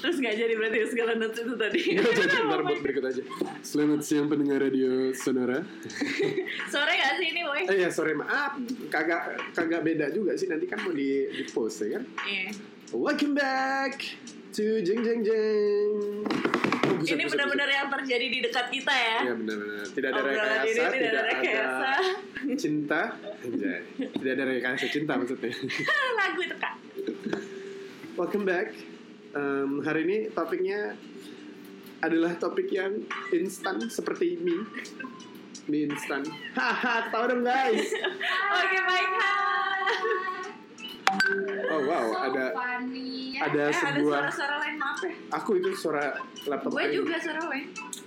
terus nggak jadi berarti segala notes itu tadi. Nggak Iya, jadi, ntar buat berikut aja. Selamat siang pendengar radio Sonora. Sore nggak sih ini boy? Eh ya sore maaf, kagak kagak beda juga sih nanti kan mau di, di post ya kan. Iya. Welcome back to jeng jeng jeng. Oh, buset, Ini buset, benar-benar yang terjadi di dekat kita ya. Iya benar-benar. Tidak ada Obrolan ini rekayasa, tidak tidak, ada ada rekayasa. cinta. Anjay. Tidak ada rekayasa cinta maksudnya. Lagu itu kak. Welcome back. Em, hari ini topiknya adalah topik yang instan seperti mie. Mie instan. Haha, tahu dong guys. Oke baik kak. Oh wow, ada funny ya. Eh, ada ada sebuah suara-suara lain maaf ya. aku itu suara laptop. Gue ini. juga suara gue.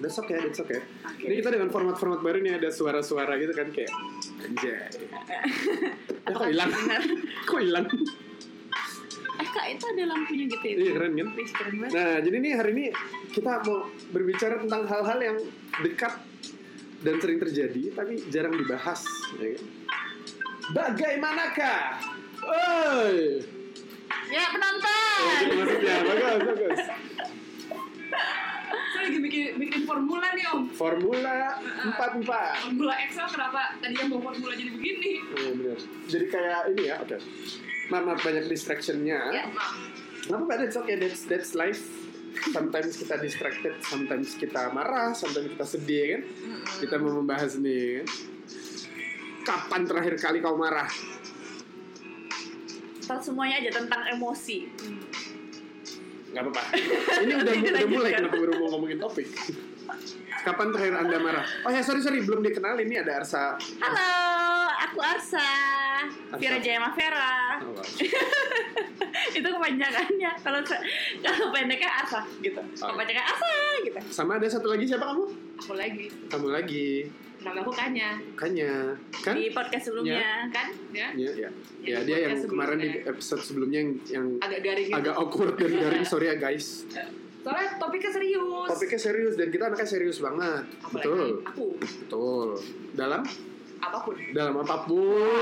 That's okay, that's okay. Oke. Ini kita dengan format-format baru nih ada suara-suara gitu kan kayak anjay. Ya, kok hilang? kok hilang? Eh kak itu ada lampunya gitu ya. Iya keren kan? Wih, keren banget. Nah, jadi ini hari ini kita mau berbicara tentang hal-hal yang dekat dan sering terjadi, tapi jarang dibahas. Ya kan? Bagaimanakah? Oi, Nah. Ya penonton. Oke, maksudnya bagus, bagus. Saya lagi bikin bikin formula nih om. Formula 44. Formula Excel kenapa tadi yang bawa formula jadi begini? Oh, benar. Jadi kayak ini ya, oke. Maaf, maaf, banyak distraction-nya. Ya. Kenapa Pak? That's okay, that's, that's life. Sometimes kita distracted, sometimes kita marah, sometimes kita sedih kan. Kita mau membahas nih kan. Kapan terakhir kali kau marah? Ntar semuanya aja tentang emosi. Gak apa-apa. Ini udah, Ini udah mulai dilanjutkan. kenapa baru mau ngomongin topik. Kapan terakhir Anda marah? Oh ya, sorry, sorry. Belum dikenalin ini ada Arsa. Halo, aku Arsa. Vira Arsa. Jayama Vera. Oh, wow. itu kepanjangannya. Kalau se- kalau pendeknya Arsa gitu. Oh. Kepanjangan Arsa gitu. Sama ada satu lagi siapa kamu? Aku lagi. Kamu lagi. Nama aku Kanya, Kanya. Kan? Di podcast sebelumnya. kan? Ya. Iya, iya. Ya, Yang dia yang podcast kemarin di sebelumnya. episode sebelumnya yang, yang Agak garing gitu. agak awkward dan garing. Sorry ya guys. Soalnya topiknya serius. Topiknya serius dan kita anaknya serius banget. Apalagi Betul. Aku Betul. Dalam apapun. dalam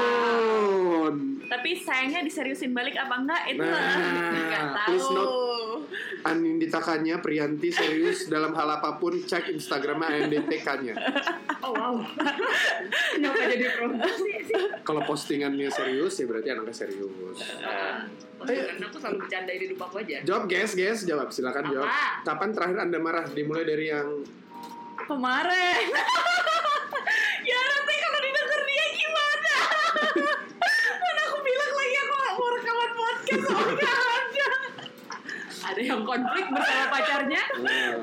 apapun. Tapi sayangnya diseriusin balik apa enggak itu Nah, enggak please tahu. note. Aninditakannya Priyanti serius dalam hal apapun cek Instagramnya ANDTK-nya. Oh wow. Kenapa jadi promosi sih? Kalau postingannya serius ya berarti anaknya serius. Eh. Karena aku selalu bercanda di hidup aku aja. Jawab guys, guys, jawab silakan jawab. Apa? Kapan terakhir Anda marah? Dimulai dari yang Kemarin. ya nanti kalau didengar dia gimana? Kan aku bilang lagi aku gak mau rekaman podcast soalnya ada. Ada yang konflik bersama pacarnya. eh,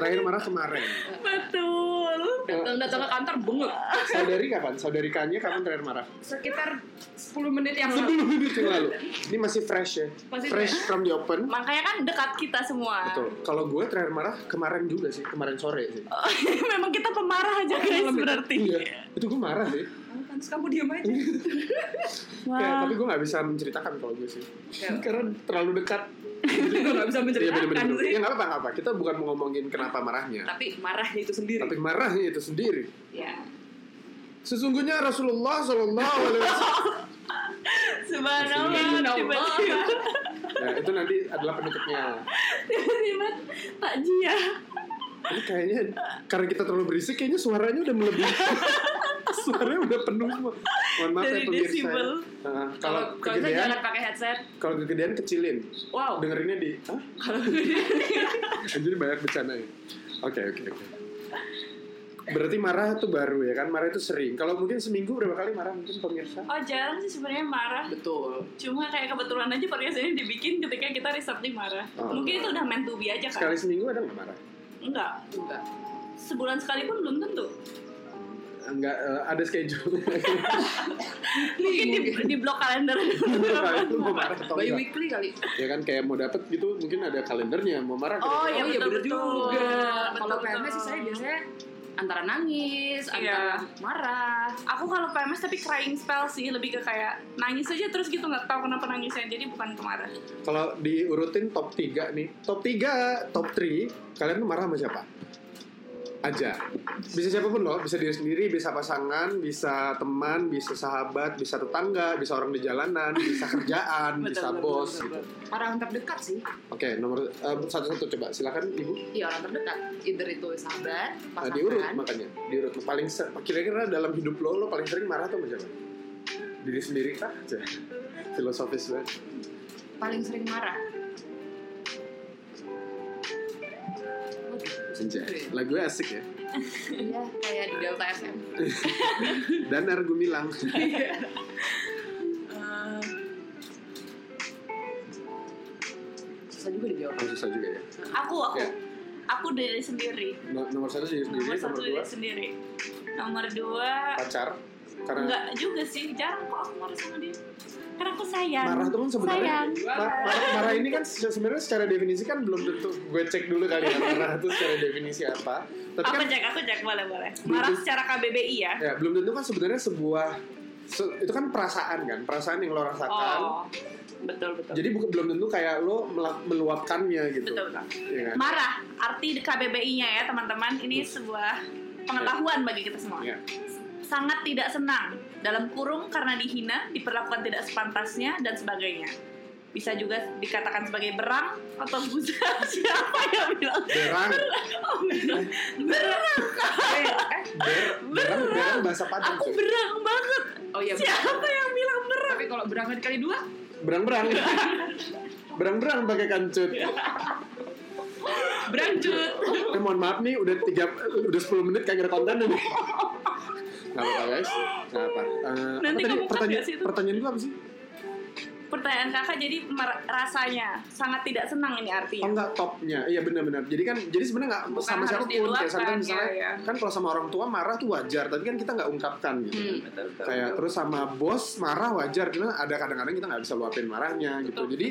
terakhir marah kemarin. Betul. Datang datang ke kantor bengek. Saudari kapan? Saudari Kanya kapan terakhir marah? Sekitar 10 menit yang lalu. 10 menit yang lalu. Ini masih fresh ya. Masih fresh from the open. Makanya kan dekat kita semua. Betul. Kalau gue terakhir marah kemarin juga sih, kemarin sore sih. Memang kita pemarah aja Oh, guys malam itu. berarti. ya? Iya, itu gue marah sih. Kan kamu diam aja. Wah. Kayak, tapi gue gak bisa menceritakan kalau gue sih. Ya. Karena terlalu dekat. Itu gak bisa Iya menceritakan bener-bener. sih. Ya gak apa-apa, nggak apa. Kita bukan mau ngomongin kenapa marahnya. Tapi marahnya itu sendiri. Tapi marahnya itu sendiri. Ya. Sesungguhnya Rasulullah Shallallahu Alaihi Wasallam. Subhanallah tiba-tiba Nah, itu nanti adalah penutupnya. tiba-tiba takjiah. Ini kayaknya karena kita terlalu berisik kayaknya suaranya udah melebihi. suaranya udah penuh semua. Mohon maaf ya Dari pemirsa. desibel. Nah, kalau Kalau kalau saya kegedean jangan pakai headset. kalau kegedean kecilin. Wow. Dengerinnya di Hah? Jadi banyak bercanda ya. Oke, oke, oke. Berarti marah itu baru ya kan? Marah itu sering. Kalau mungkin seminggu berapa kali marah mungkin pemirsa? Oh jarang sih sebenarnya marah. Betul. Cuma kayak kebetulan aja podcast ini dibikin ketika kita researching marah. Oh. Mungkin itu udah main to be aja kan? Sekali seminggu ada nggak marah? Enggak. Enggak. Sebulan sekali pun belum tentu. Enggak, eh, ada schedule. Mungkin di, di blok kalender dulu. Kalau itu mau marah atau By enggak. weekly kali. Ya kan kayak mau dapet gitu mungkin ada kalendernya mau marah. Oh, kira-kira. iya, bener betul-betul. juga. Betul, Kalau betul. PMS sih saya biasanya antara nangis, Iya. antara marah. Aku kalau PMS tapi crying spell sih lebih ke kayak nangis aja terus gitu nggak tahu kenapa nangisnya jadi bukan kemarah. Kalau diurutin top 3 nih, top 3, top 3, kalian tuh marah sama siapa? aja bisa siapapun loh bisa diri sendiri bisa pasangan bisa teman bisa sahabat bisa tetangga bisa orang di jalanan bisa kerjaan Betul, bisa betul, bos betul, gitu betul. orang terdekat sih oke nomor eh, satu-satu coba silakan ibu iya orang terdekat either itu sahabat Nah, pasangan diurut makanya diurut paling ser- kira-kira dalam hidup lo lo paling sering marah atau menjawab diri sendiri kah aja filosofis banget paling sering marah Anjay, lagu asik ya Iya, kayak di Delta FM. dan Argumilang Eh, Susah juga dijawab. oh, susah juga ya aku aku Ya. aku diri sendiri No- nomor satu diri sendiri nomor nomor, satu ya, dua diri sendiri nomor dua pacar karena enggak juga sih jarang kok aku marah sama dia karena aku sayang marah tuh kan sebenarnya sayang Ma- marah, marah ini kan se- sebenarnya secara definisi kan belum tentu gue cek dulu kali ya marah itu secara definisi apa tapi aku kan cek aku cek boleh boleh marah Belum- secara KBBI ya ya belum tentu kan sebenarnya sebuah se- itu kan perasaan kan perasaan yang lo rasakan oh betul betul jadi bukan belum tentu kayak lo mela- meluapkannya gitu betul betul Iya kan? marah arti KBBI-nya ya teman-teman ini sebuah pengetahuan bagi kita semua Iya. sangat tidak senang dalam kurung karena dihina diperlakukan tidak sepantasnya dan sebagainya bisa juga dikatakan sebagai berang atau busa siapa yang bilang berang oh, berang berang ber- berang berang bahasa Padang aku cuy. berang banget Oh iya, siapa yang bilang berang tapi kalau berangkat kali dua, berang berang berang berang pakai kancut berangcut. Eh, mohon maaf nih udah tiga udah 10 menit kagak ada konten nih. Gak apa guys, gak apa. Eh, Nanti apa tadi kamu cut pertanyaan gak sih itu? pertanyaan gue apa sih? pertanyaan kakak jadi mer- rasanya sangat tidak senang ini Oh artinya enggak topnya, iya benar-benar. Jadi kan jadi sebenarnya nggak Bukan sama harus siapapun kayak diluapkan, sometimes ya, misalnya iya, iya. kan kalau sama orang tua marah tuh wajar, tapi kan kita nggak ungkapkan gitu. Hmm, betul betul Kayak terus sama bos marah wajar, karena ada kadang-kadang kita nggak bisa luapin marahnya gitu. Jadi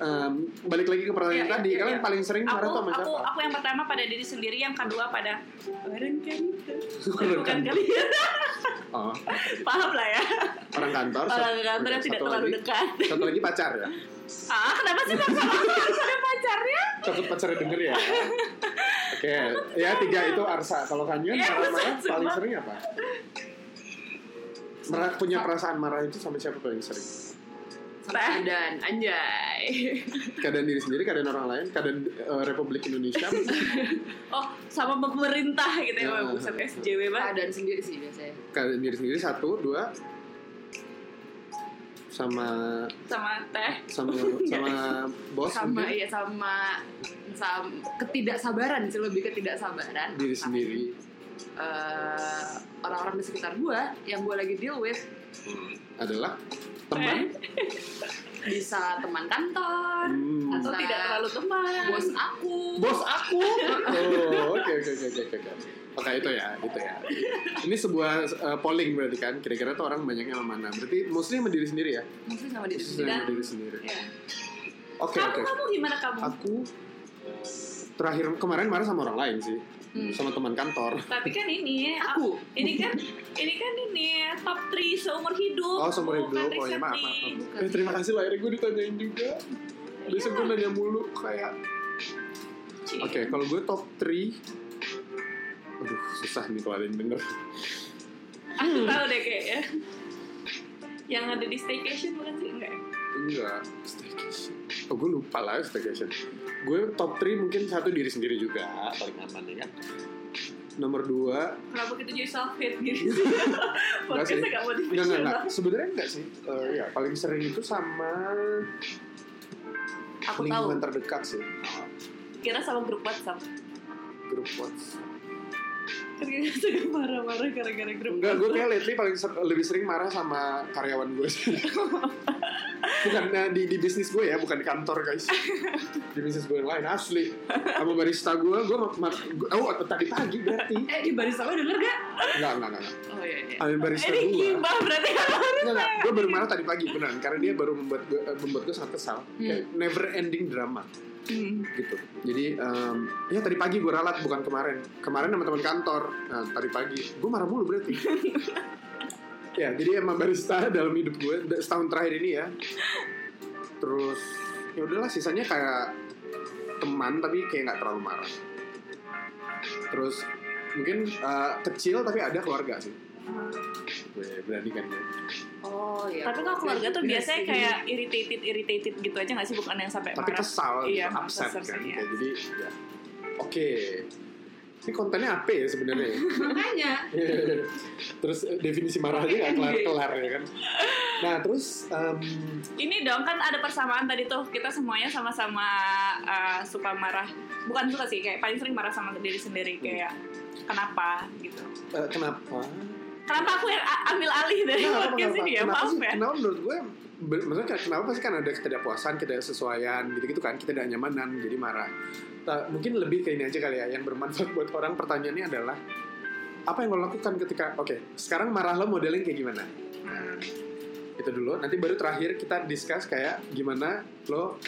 em, balik lagi ke pertanyaan Iya, iya, tadi, iya, kalian iya. paling sering aku marah tuh sama aku siapa? aku yang pertama pada diri sendiri yang kedua pada orang kan Orang bukan kan? kantor. kalian kan? Oh, paham lah ya orang kantor. orang satu- kantor yang tidak satu terlalu ya? lagi- dekat Satu lagi pacar ya. ah kenapa sih kakak aku harus ada pacarnya takut pacarnya denger ya. Oke, ya tiga itu Arsa. Kalau Kanyon Ya, marah-marah maksud paling gua. sering apa? Merah, punya perasaan marah itu sama siapa paling sering? Badan, anjay. Keadaan diri sendiri, keadaan orang lain, keadaan eh, Republik Indonesia. oh sama pemerintah gitu ya Ya. buset SJW banget Badan sendiri sih biasanya. keadaan diri sendiri satu, dua, sama sama teh sama sama bos Sama mungkin. iya sama sam- ketidaksabaran sih lebih ketidaksabaran. diri Sama, sendiri. eh, orang-orang di sekitar gua yang gua lagi deal with Hmm. Adalah teman, bisa teman kantor, Hmm. atau Nah. tidak terlalu teman bos aku. bos aku. Oh, oke oke oke oke oke. Oke itu ya, itu ya. Ini sebuah eh, polling berarti kan. Kira-kira tuh orang banyaknya sama mana? Berarti mostly sama diri sendiri ya. Maksudnya sama diri Mostly sama sendiri. diri sendiri. Ya. Oke kamu oke. kamu gimana kamu Aku terakhir kemarin marah sama orang lain sih, Hmm. sama teman kantor. tapi kan ini Aku. ini kan ini kan ini top 3 seumur hidup Kan Oh seumur hidup, oh ya maaf. maaf. Bukan. Eh, terima kasih loh, akhirnya gue ditanyain juga. Besok gue nanya mulu kayak. Oke, kalau gue top 3 Aduh, susah nih kalau ada yang denger aku Hmm. tahu deh kayaknya yang ada di staycation bukan sih enggak ya? Enggak, staycation. Oh, gue lupa lah staycation. Gue top 3 mungkin satu diri sendiri juga, paling aman ya kan. Nomor 2, kenapa kita jadi selfie gitu sih. podcastnya nggak enggak, enggak, motivational enggak. Sebenarnya enggak sih. Eh, ya, paling sering itu sama aku tahu lingkungan terdekat sih. kira sama grup WhatsApp Grup WhatsApp. Kira-kira suka gitu, marah-marah gara-gara grup Enggak, gue kayak lately paling ser- lebih sering marah sama karyawan gue sih. bukan eh, di, di bisnis gue ya, bukan di kantor guys. Di bisnis gue yang lain, asli. Sama barista gue, gue... mar- gue- Oh, tadi pagi berarti. Eh di barista lo denger gak? Enggak, enggak, enggak. enggak. Oh iya iya. Amin barista Ini gue gibah berarti kalau Enggak, enggak. Gue baru marah tadi pagi beneran Karena dia baru membuat gue, eh, membuat gue sangat kesal Kayak never ending drama gitu Jadi em, ya tadi pagi gue ralat bukan kemarin Kemarin sama teman kantor Nah tadi pagi Gue marah mulu berarti Ya jadi emang barista dalam hidup gue da- Setahun terakhir ini ya Terus ya udahlah sisanya kayak teman tapi kayak nggak terlalu marah terus mungkin eh, kecil tapi ada keluarga sih gue berani kan gue Oh iya. Tapi kalau keluarga tuh biasanya kayak irritated irritated gitu aja nggak sih bukan yang sampai tapi marah. kesal gitu, Iya, upset kesel sih, kan iya. Kayak jadi ya oke ini kontennya apa ya sebenarnya makanya terus eh, definisi marah aja nggak kelar kelar ya kan nah terus em, Ini dong kan ada persamaan tadi tuh kita semuanya sama-sama eh, suka marah. Bukan suka sih kayak paling sering marah sama diri Hmm. sendiri kayak kenapa gitu. eh, kenapa Nah, Kenapa aku yang a- ambil alih dari Kenapa, podcast kenapa? ini ya? Kenapa Maaf sih- ya. kenapa menurut gue be- maksudnya kayak kenapa sih kan ada ketidakpuasan ketidaksesuaian gitu gitu kan kita tidak nyamanan jadi marah Ta- mungkin lebih ke ini aja kali ya yang bermanfaat buat orang pertanyaannya adalah apa yang lo lakukan ketika oke sekarang marah lo modelnya kayak gimana itu dulu nanti baru terakhir kita discuss kayak gimana lo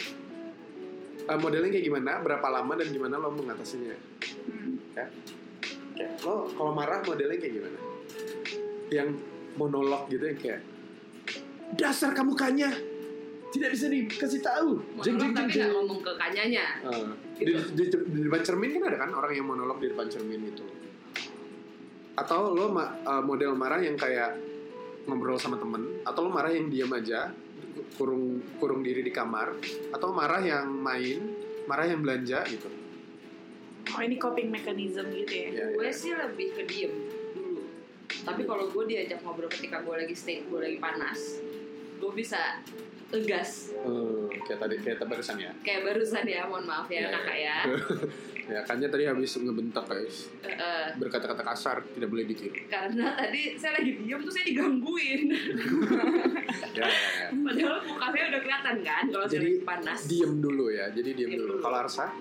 eh, modelnya kayak gimana berapa lama dan gimana lo mengatasinya Hmm. kayak lo kalau marah modelnya kayak gimana yang monolog gitu yang kayak dasar kamu kanya tidak bisa dikasih tahu jeng jeng jeng jeng tapi nggak Gitu. ngomong ke kanyanya. Eh, di, di, di depan cermin kan ada kan orang yang monolog di depan cermin itu atau lo ma- eh, model marah yang kayak ngobrol sama temen atau lo marah yang diam aja kurung kurung diri di kamar atau marah yang main marah yang belanja gitu Oh ini coping mechanism gitu ya. Ya, ya. Gue sih lebih ke diem dulu. Tapi kalau gue diajak ngobrol ketika gue lagi stay, gue lagi panas, gue bisa tegas. Eh, kayak tadi kayak barusan ya Kayak barusan ya, mohon maaf Ya, ya, kakak ya. ya kanya tadi habis ngebentak guys Eh, eh, berkata-kata kasar tidak boleh ditiru karena tadi saya lagi diem tuh saya digangguin. ya, ya, ya. Padahal muka saya udah kelihatan kan kalau saya Jadi, lagi panas. diem dulu ya jadi diem Diem dulu dulu. kalau Arsa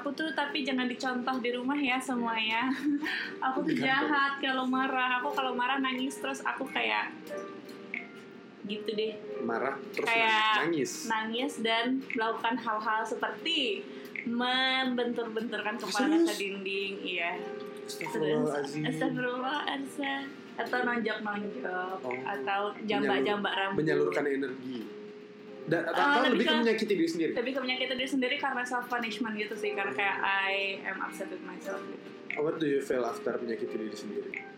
Aku tuh tapi jangan dicontoh di rumah ya semuanya. aku tuh Digantung. jahat kalau marah. Aku kalau marah nangis terus aku kayak gitu deh marah terus Kayak- nangis nangis dan melakukan hal-hal seperti membentur-benturkan kepala Serius? ke dinding iya Astagfirullahaladzim. astagfirullah Arsa atau nonjok-nonjok Oh. atau jambak-jambak rambut menyalurkan energi dan atau, Eh, atau lebih lebih ke ke- menyakiti diri sendiri tapi kebanyakan diri sendiri karena self punishment gitu sih karena kayak I am upset with myself what do you feel after menyakiti diri sendiri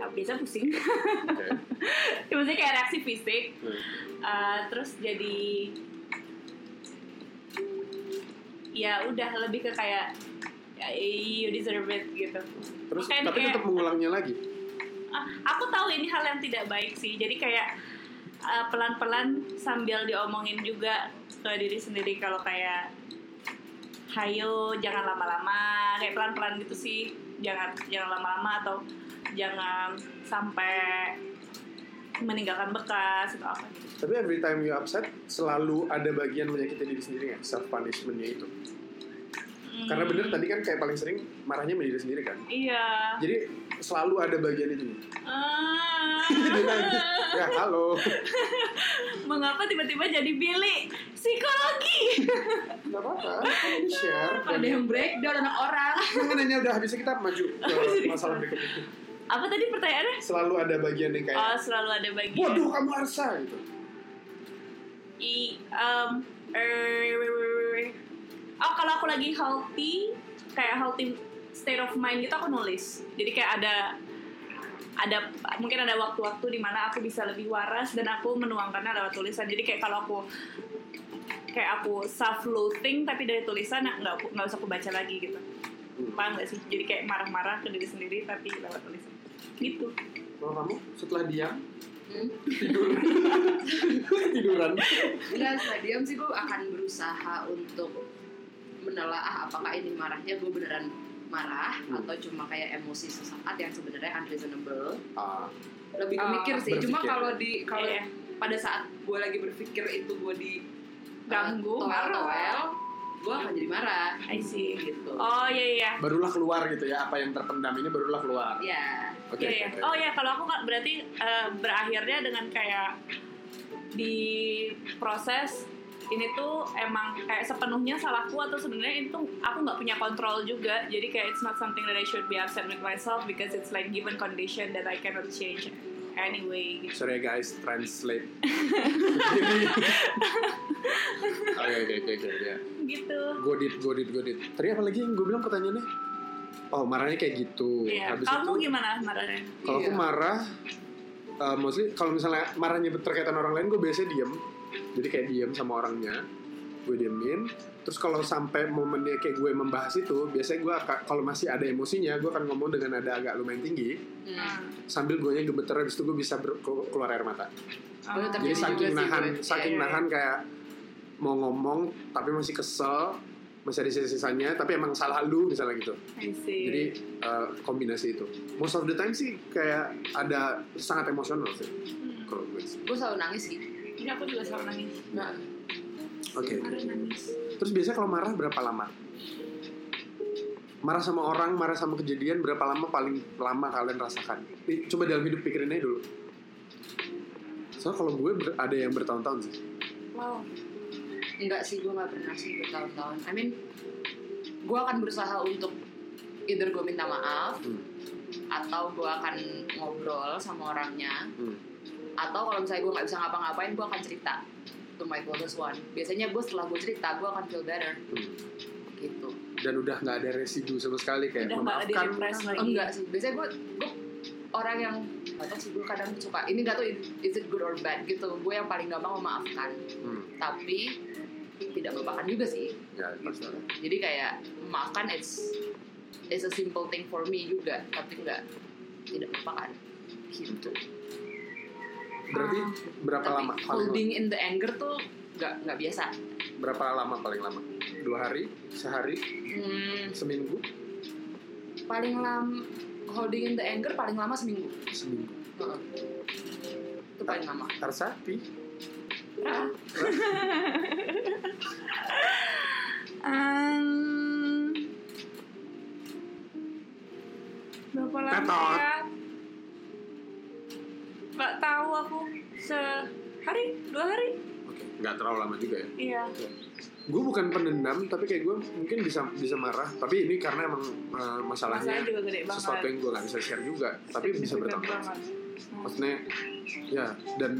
Nah, biasa pusing Oke. maksudnya kayak reaksi fisik Hmm. Uh, terus jadi ya udah lebih ke kayak ya, you deserve it gitu terus Bukan tapi kayak- tetap mengulangnya lagi Ah, aku tahu ini hal yang tidak baik sih jadi kayak uh, pelan-pelan sambil diomongin juga ke diri sendiri kalau kayak hayo jangan lama-lama kayak pelan-pelan gitu sih jangan jangan lama-lama atau jangan sampai meninggalkan bekas atau apa gitu tapi every time you upset selalu ada bagian menyakiti diri sendiri ya self punishmentnya itu karena Hmm. bener tadi kan kayak paling sering marahnya sama diri sendiri kan Iya. jadi selalu ada bagian itu Ah. Dia nangis. ya halo Mengapa tiba-tiba jadi Billy? Psikologi. nggak apa-apa kan ini share ada yang breakdown anak orang. Jangan nanya udah habisnya kita maju ke masalah berikutnya. Apa tadi pertanyaannya? Selalu ada bagian yang Oh, kayak, selalu ada bagian. waduh kamu Arsa gitu. I, um, er, oh, kalau aku lagi healthy, kayak healthy state of mind gitu aku nulis. Jadi kayak ada ada mungkin ada waktu-waktu di mana aku bisa lebih waras dan aku menuangkannya lewat tulisan. Jadi kayak kalau aku kayak aku self loathing tapi dari tulisan nggak nggak usah aku baca lagi gitu. Hmm. paham gak sih jadi kayak marah-marah ke diri sendiri tapi lewat tulisan gitu Kalau kamu setelah diam Hmm. tidur tiduran. Enggak, setelah diam sih gue akan berusaha untuk menelaah apakah ini marahnya gue beneran marah Hmm. atau cuma kayak emosi sesaat yang sebenarnya unreasonable. Ah, Lebih ke Ah, mikir sih. Cuma berpikir. kalau di kalau Iya. pada saat gue lagi berpikir itu gue di Ganggu, toel marah. gue akan jadi marah I see gitu. oh iya iya barulah keluar gitu ya apa yang terpendam ini barulah keluar. Ya, Oke. Iya, iya. oke, oke. oh ya kalau aku kan berarti eh, berakhirnya dengan kayak di proses ini tuh emang kayak sepenuhnya salahku atau sebenarnya itu aku nggak punya kontrol juga jadi kayak it's not something that I should be upset with myself because it's like given condition that I cannot change anyway gitu. Sorry ya, guys, translate. Jadi Oke ya. oke oke oke ya. gitu Godit godit godit. Tadi apa lagi yang gue bilang pertanyaannya? oh marahnya kayak gitu Iya. habis Kamu itu gimana marahnya? kalau aku Iya. marah eh, mostly kalau misalnya marahnya berkaitan orang lain gue biasanya diem jadi kayak diem sama orangnya gue diemin terus kalau sampai momennya kayak gue membahas itu biasanya gue aka- kalau masih ada emosinya gue akan ngomong dengan ada agak lumayan tinggi Hmm. sambil gue gemeter habis itu gue bisa ber- keluar air mata Oh, Tapi jadi saking juga sih nahan gue. saking Iya, iya. nahan kayak mau ngomong tapi masih kesel masih ada sisa-sisanya tapi emang salah lu misalnya gitu I Iya. see. jadi eh, kombinasi itu most of the time sih kayak ada sangat emosional sih Hmm. kalau gue sih. Gue selalu nangis sih. Ini aku juga selalu nangis. Nah, oke Marah nangis. terus biasanya kalau marah berapa lama marah sama orang marah sama kejadian berapa lama paling lama kalian rasakan Ih, coba dalam hidup pikirin aja dulu soalnya kalau gue ber- ada yang bertahun-tahun sih Wow. enggak sih gue nggak pernah sih bertahun-tahun. I mean, gue akan berusaha untuk either gue minta maaf Hmm. atau gue akan ngobrol sama orangnya Hmm. atau kalau misalnya gue nggak bisa ngapa-ngapain gue akan cerita to my closest one. Biasanya gue setelah gue cerita gue akan feel better Hmm. gitu. dan udah nggak ada residu sama sekali kayak Udah nggak ada memaafkan depres lagi. Oh, enggak sih biasanya gue gue orang yang gak tau sih gue kadang suka ini gak tau is it good or bad gitu gue yang paling gampang memaafkan hmm. tapi tidak melupakan juga sih ya pasti lah. jadi kayak memaafkan it's it's a simple thing for me juga tapi enggak tidak melupakan gitu berarti Ah. berapa tapi lama paling lama? holding in the anger tuh nggak nggak biasa berapa lama paling lama dua hari sehari hmm, seminggu paling lama holding in the anger paling lama seminggu seminggu Heeh. itu paling lama Tarsati Um, berapa lama Tetot. ya? Gak tahu aku sehari, dua hari. oke nggak terlalu lama juga ya Iya. gue bukan penendam tapi kayak gue mungkin bisa bisa marah tapi ini karena emang eh, Masalahnya masalahnya juga gede banget. sesuatu yang gue nggak bisa share juga tapi bisa Signifikan bertambah banget. Hmm. maksudnya ya dan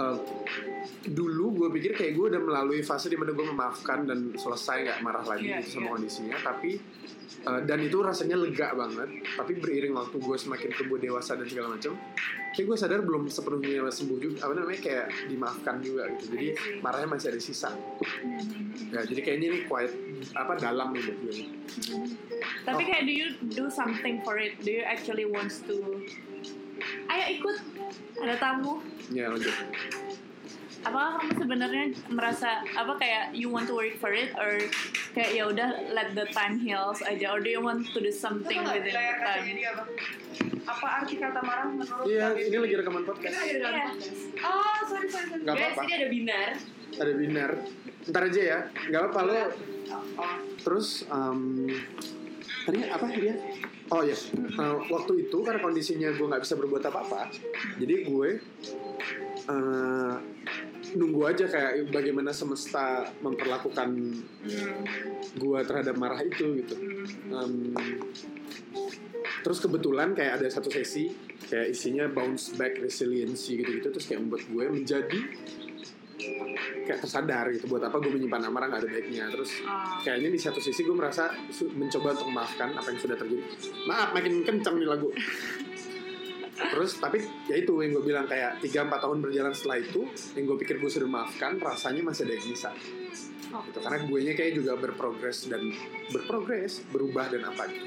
eh, dulu gue pikir kayak gue udah melalui fase dimana gue memaafkan dan selesai nggak marah lagi Iya, gitu sama iya. kondisinya tapi eh, dan itu rasanya lega banget tapi beriring waktu gue semakin tumbuh dewasa dan segala macam kayak gue sadar belum sepenuhnya sembuh juga apa namanya kayak dimaafkan juga gitu jadi Iya sih. marahnya masih ada sisa Hmm. ya jadi kayaknya ini quiet apa dalam nih buat gue Tapi Oh. kayak do you do something for it? Do you actually wants to? Ayo ikut. Ada tamu. ya lanjut Apakah kamu sebenarnya merasa apa kayak you want to work for it or kayak ya udah let the time heals aja or do you want to do something Coba within layar the time? kacanya dia apa? Apa arti kata marah menurut iya Kak ini Bibi? lagi rekaman podcast Kita ada Iya. dalam podcast. Oh, sorry, sorry, sorry. Nggak apa-apa. Guys, ini ada binar ada binar ntar aja ya nggak apa-apa lo Oh, terus em, tadi apa dia oh ya waktu itu karena kondisinya gue nggak bisa berbuat apa-apa jadi gue eh, nunggu aja kayak bagaimana semesta memperlakukan gue terhadap marah itu gitu Em, terus kebetulan kayak ada satu sesi kayak isinya bounce back resiliency gitu-gitu terus kayak membuat gue menjadi kayak tersadar gitu buat apa gue menyimpan amarah nggak ada baiknya terus Ah. kayaknya di satu sisi gue merasa su- mencoba untuk memaafkan apa yang sudah terjadi maaf makin kencang nih lagu terus tapi ya itu yang gue bilang kayak 3-4 tahun berjalan setelah itu yang gue pikir gue sudah maafkan rasanya masih ada yang bisa gitu. karena gue nya kayak juga berprogres dan berprogres berubah dan apa gitu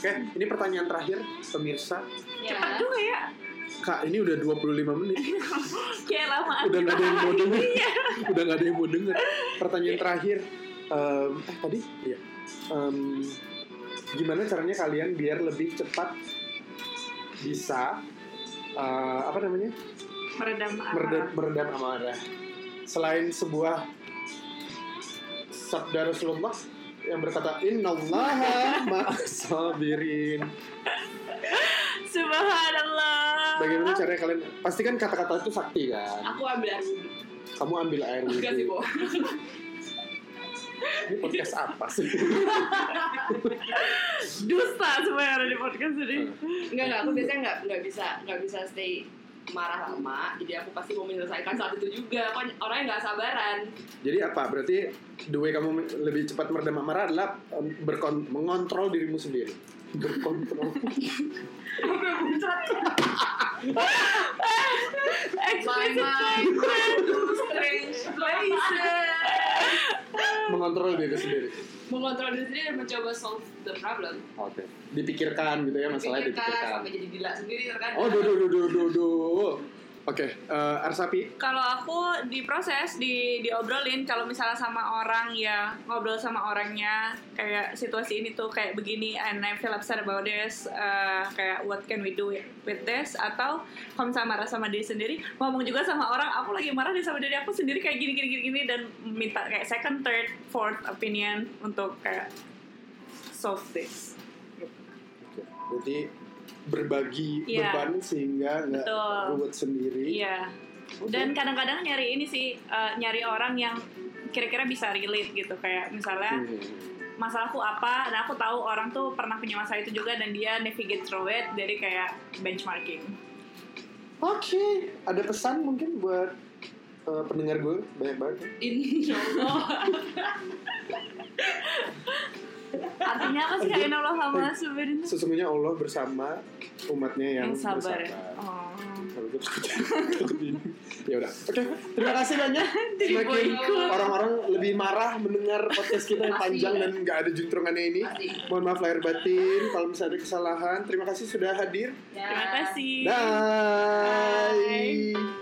oke ini pertanyaan terakhir pemirsa Cepat juga ya. kak ini udah 25 menit Kayak lamaan. udah nggak ada yang mau denger Iya. udah nggak ada yang mau denger pertanyaan Iya. terakhir em, eh tadi iya Em, gimana caranya kalian biar lebih cepat bisa eh, apa namanya Meredam meredam, ah. amarah. meredam amarah selain sebuah sabda Rasulullah yang berkata innallaha ma'as sabirin Subhanallah. Ah. bagaimana caranya kalian pastikan kata-kata itu sakti kan aku ambil air wudhu kamu ambil air Ah. enggak sih wudhu Bo ini podcast apa sih Dusta semua yang ada di podcast ini. Hmm. Enggak enggak, aku biasanya enggak enggak bisa enggak bisa stay marah lama jadi aku pasti mau menyelesaikan saat itu juga kan orangnya nggak sabaran Jadi apa? Berarti the way kamu men- lebih cepat meredam amarah adalah um, berkon mengontrol dirimu sendiri. Berkontrol. bye bye Strange places. mengontrol diri sendiri. mengontrol diri sendiri dan mencoba solve the problem Oke. Dipikirkan gitu ya masalahnya Pikirkan, dipikirkan. sampai jadi gila sendiri terkadang Oh, do do do do do. do. Oke, eh, Arsapi. Kalau aku diproses, di diobrolin kalau misalnya sama orang ya ngobrol sama orangnya kayak situasi ini tuh kayak begini and I feel upset about this uh, kayak what can we do with this atau kalau misalnya marah sama diri sendiri ngomong juga sama orang aku lagi marah nih sama diri aku sendiri kayak gini gini gini, gini dan minta kayak second third fourth opinion untuk kayak solve this. Oke. Berarti berbagi Iya. beban sehingga nggak Betul. ruwet sendiri. Iya. Dan kadang-kadang nyari ini sih eh, nyari orang yang kira-kira bisa relate gitu kayak misalnya Hmm. masalahku apa nah aku tahu orang tuh pernah punya masalah itu juga dan dia navigate through it dari kayak benchmarking. Oke, ada pesan mungkin buat eh, pendengar gue banyak banget. Insya Allah. Artinya apa sih kayak Allah sama sebenarnya? Sesungguhnya Allah bersama umatnya yang, Yang sabar. ya? bersabar. Oh. Kalau gitu, takut ini. ya udah oke terima kasih banyak Jadi semakin boikot. orang-orang lebih marah mendengar podcast kita yang panjang dan nggak ada juntrungannya ini Pasti. mohon maaf lahir batin kalau misalnya ada ya. kesalahan terima kasih sudah hadir Terima kasih. bye, Bye.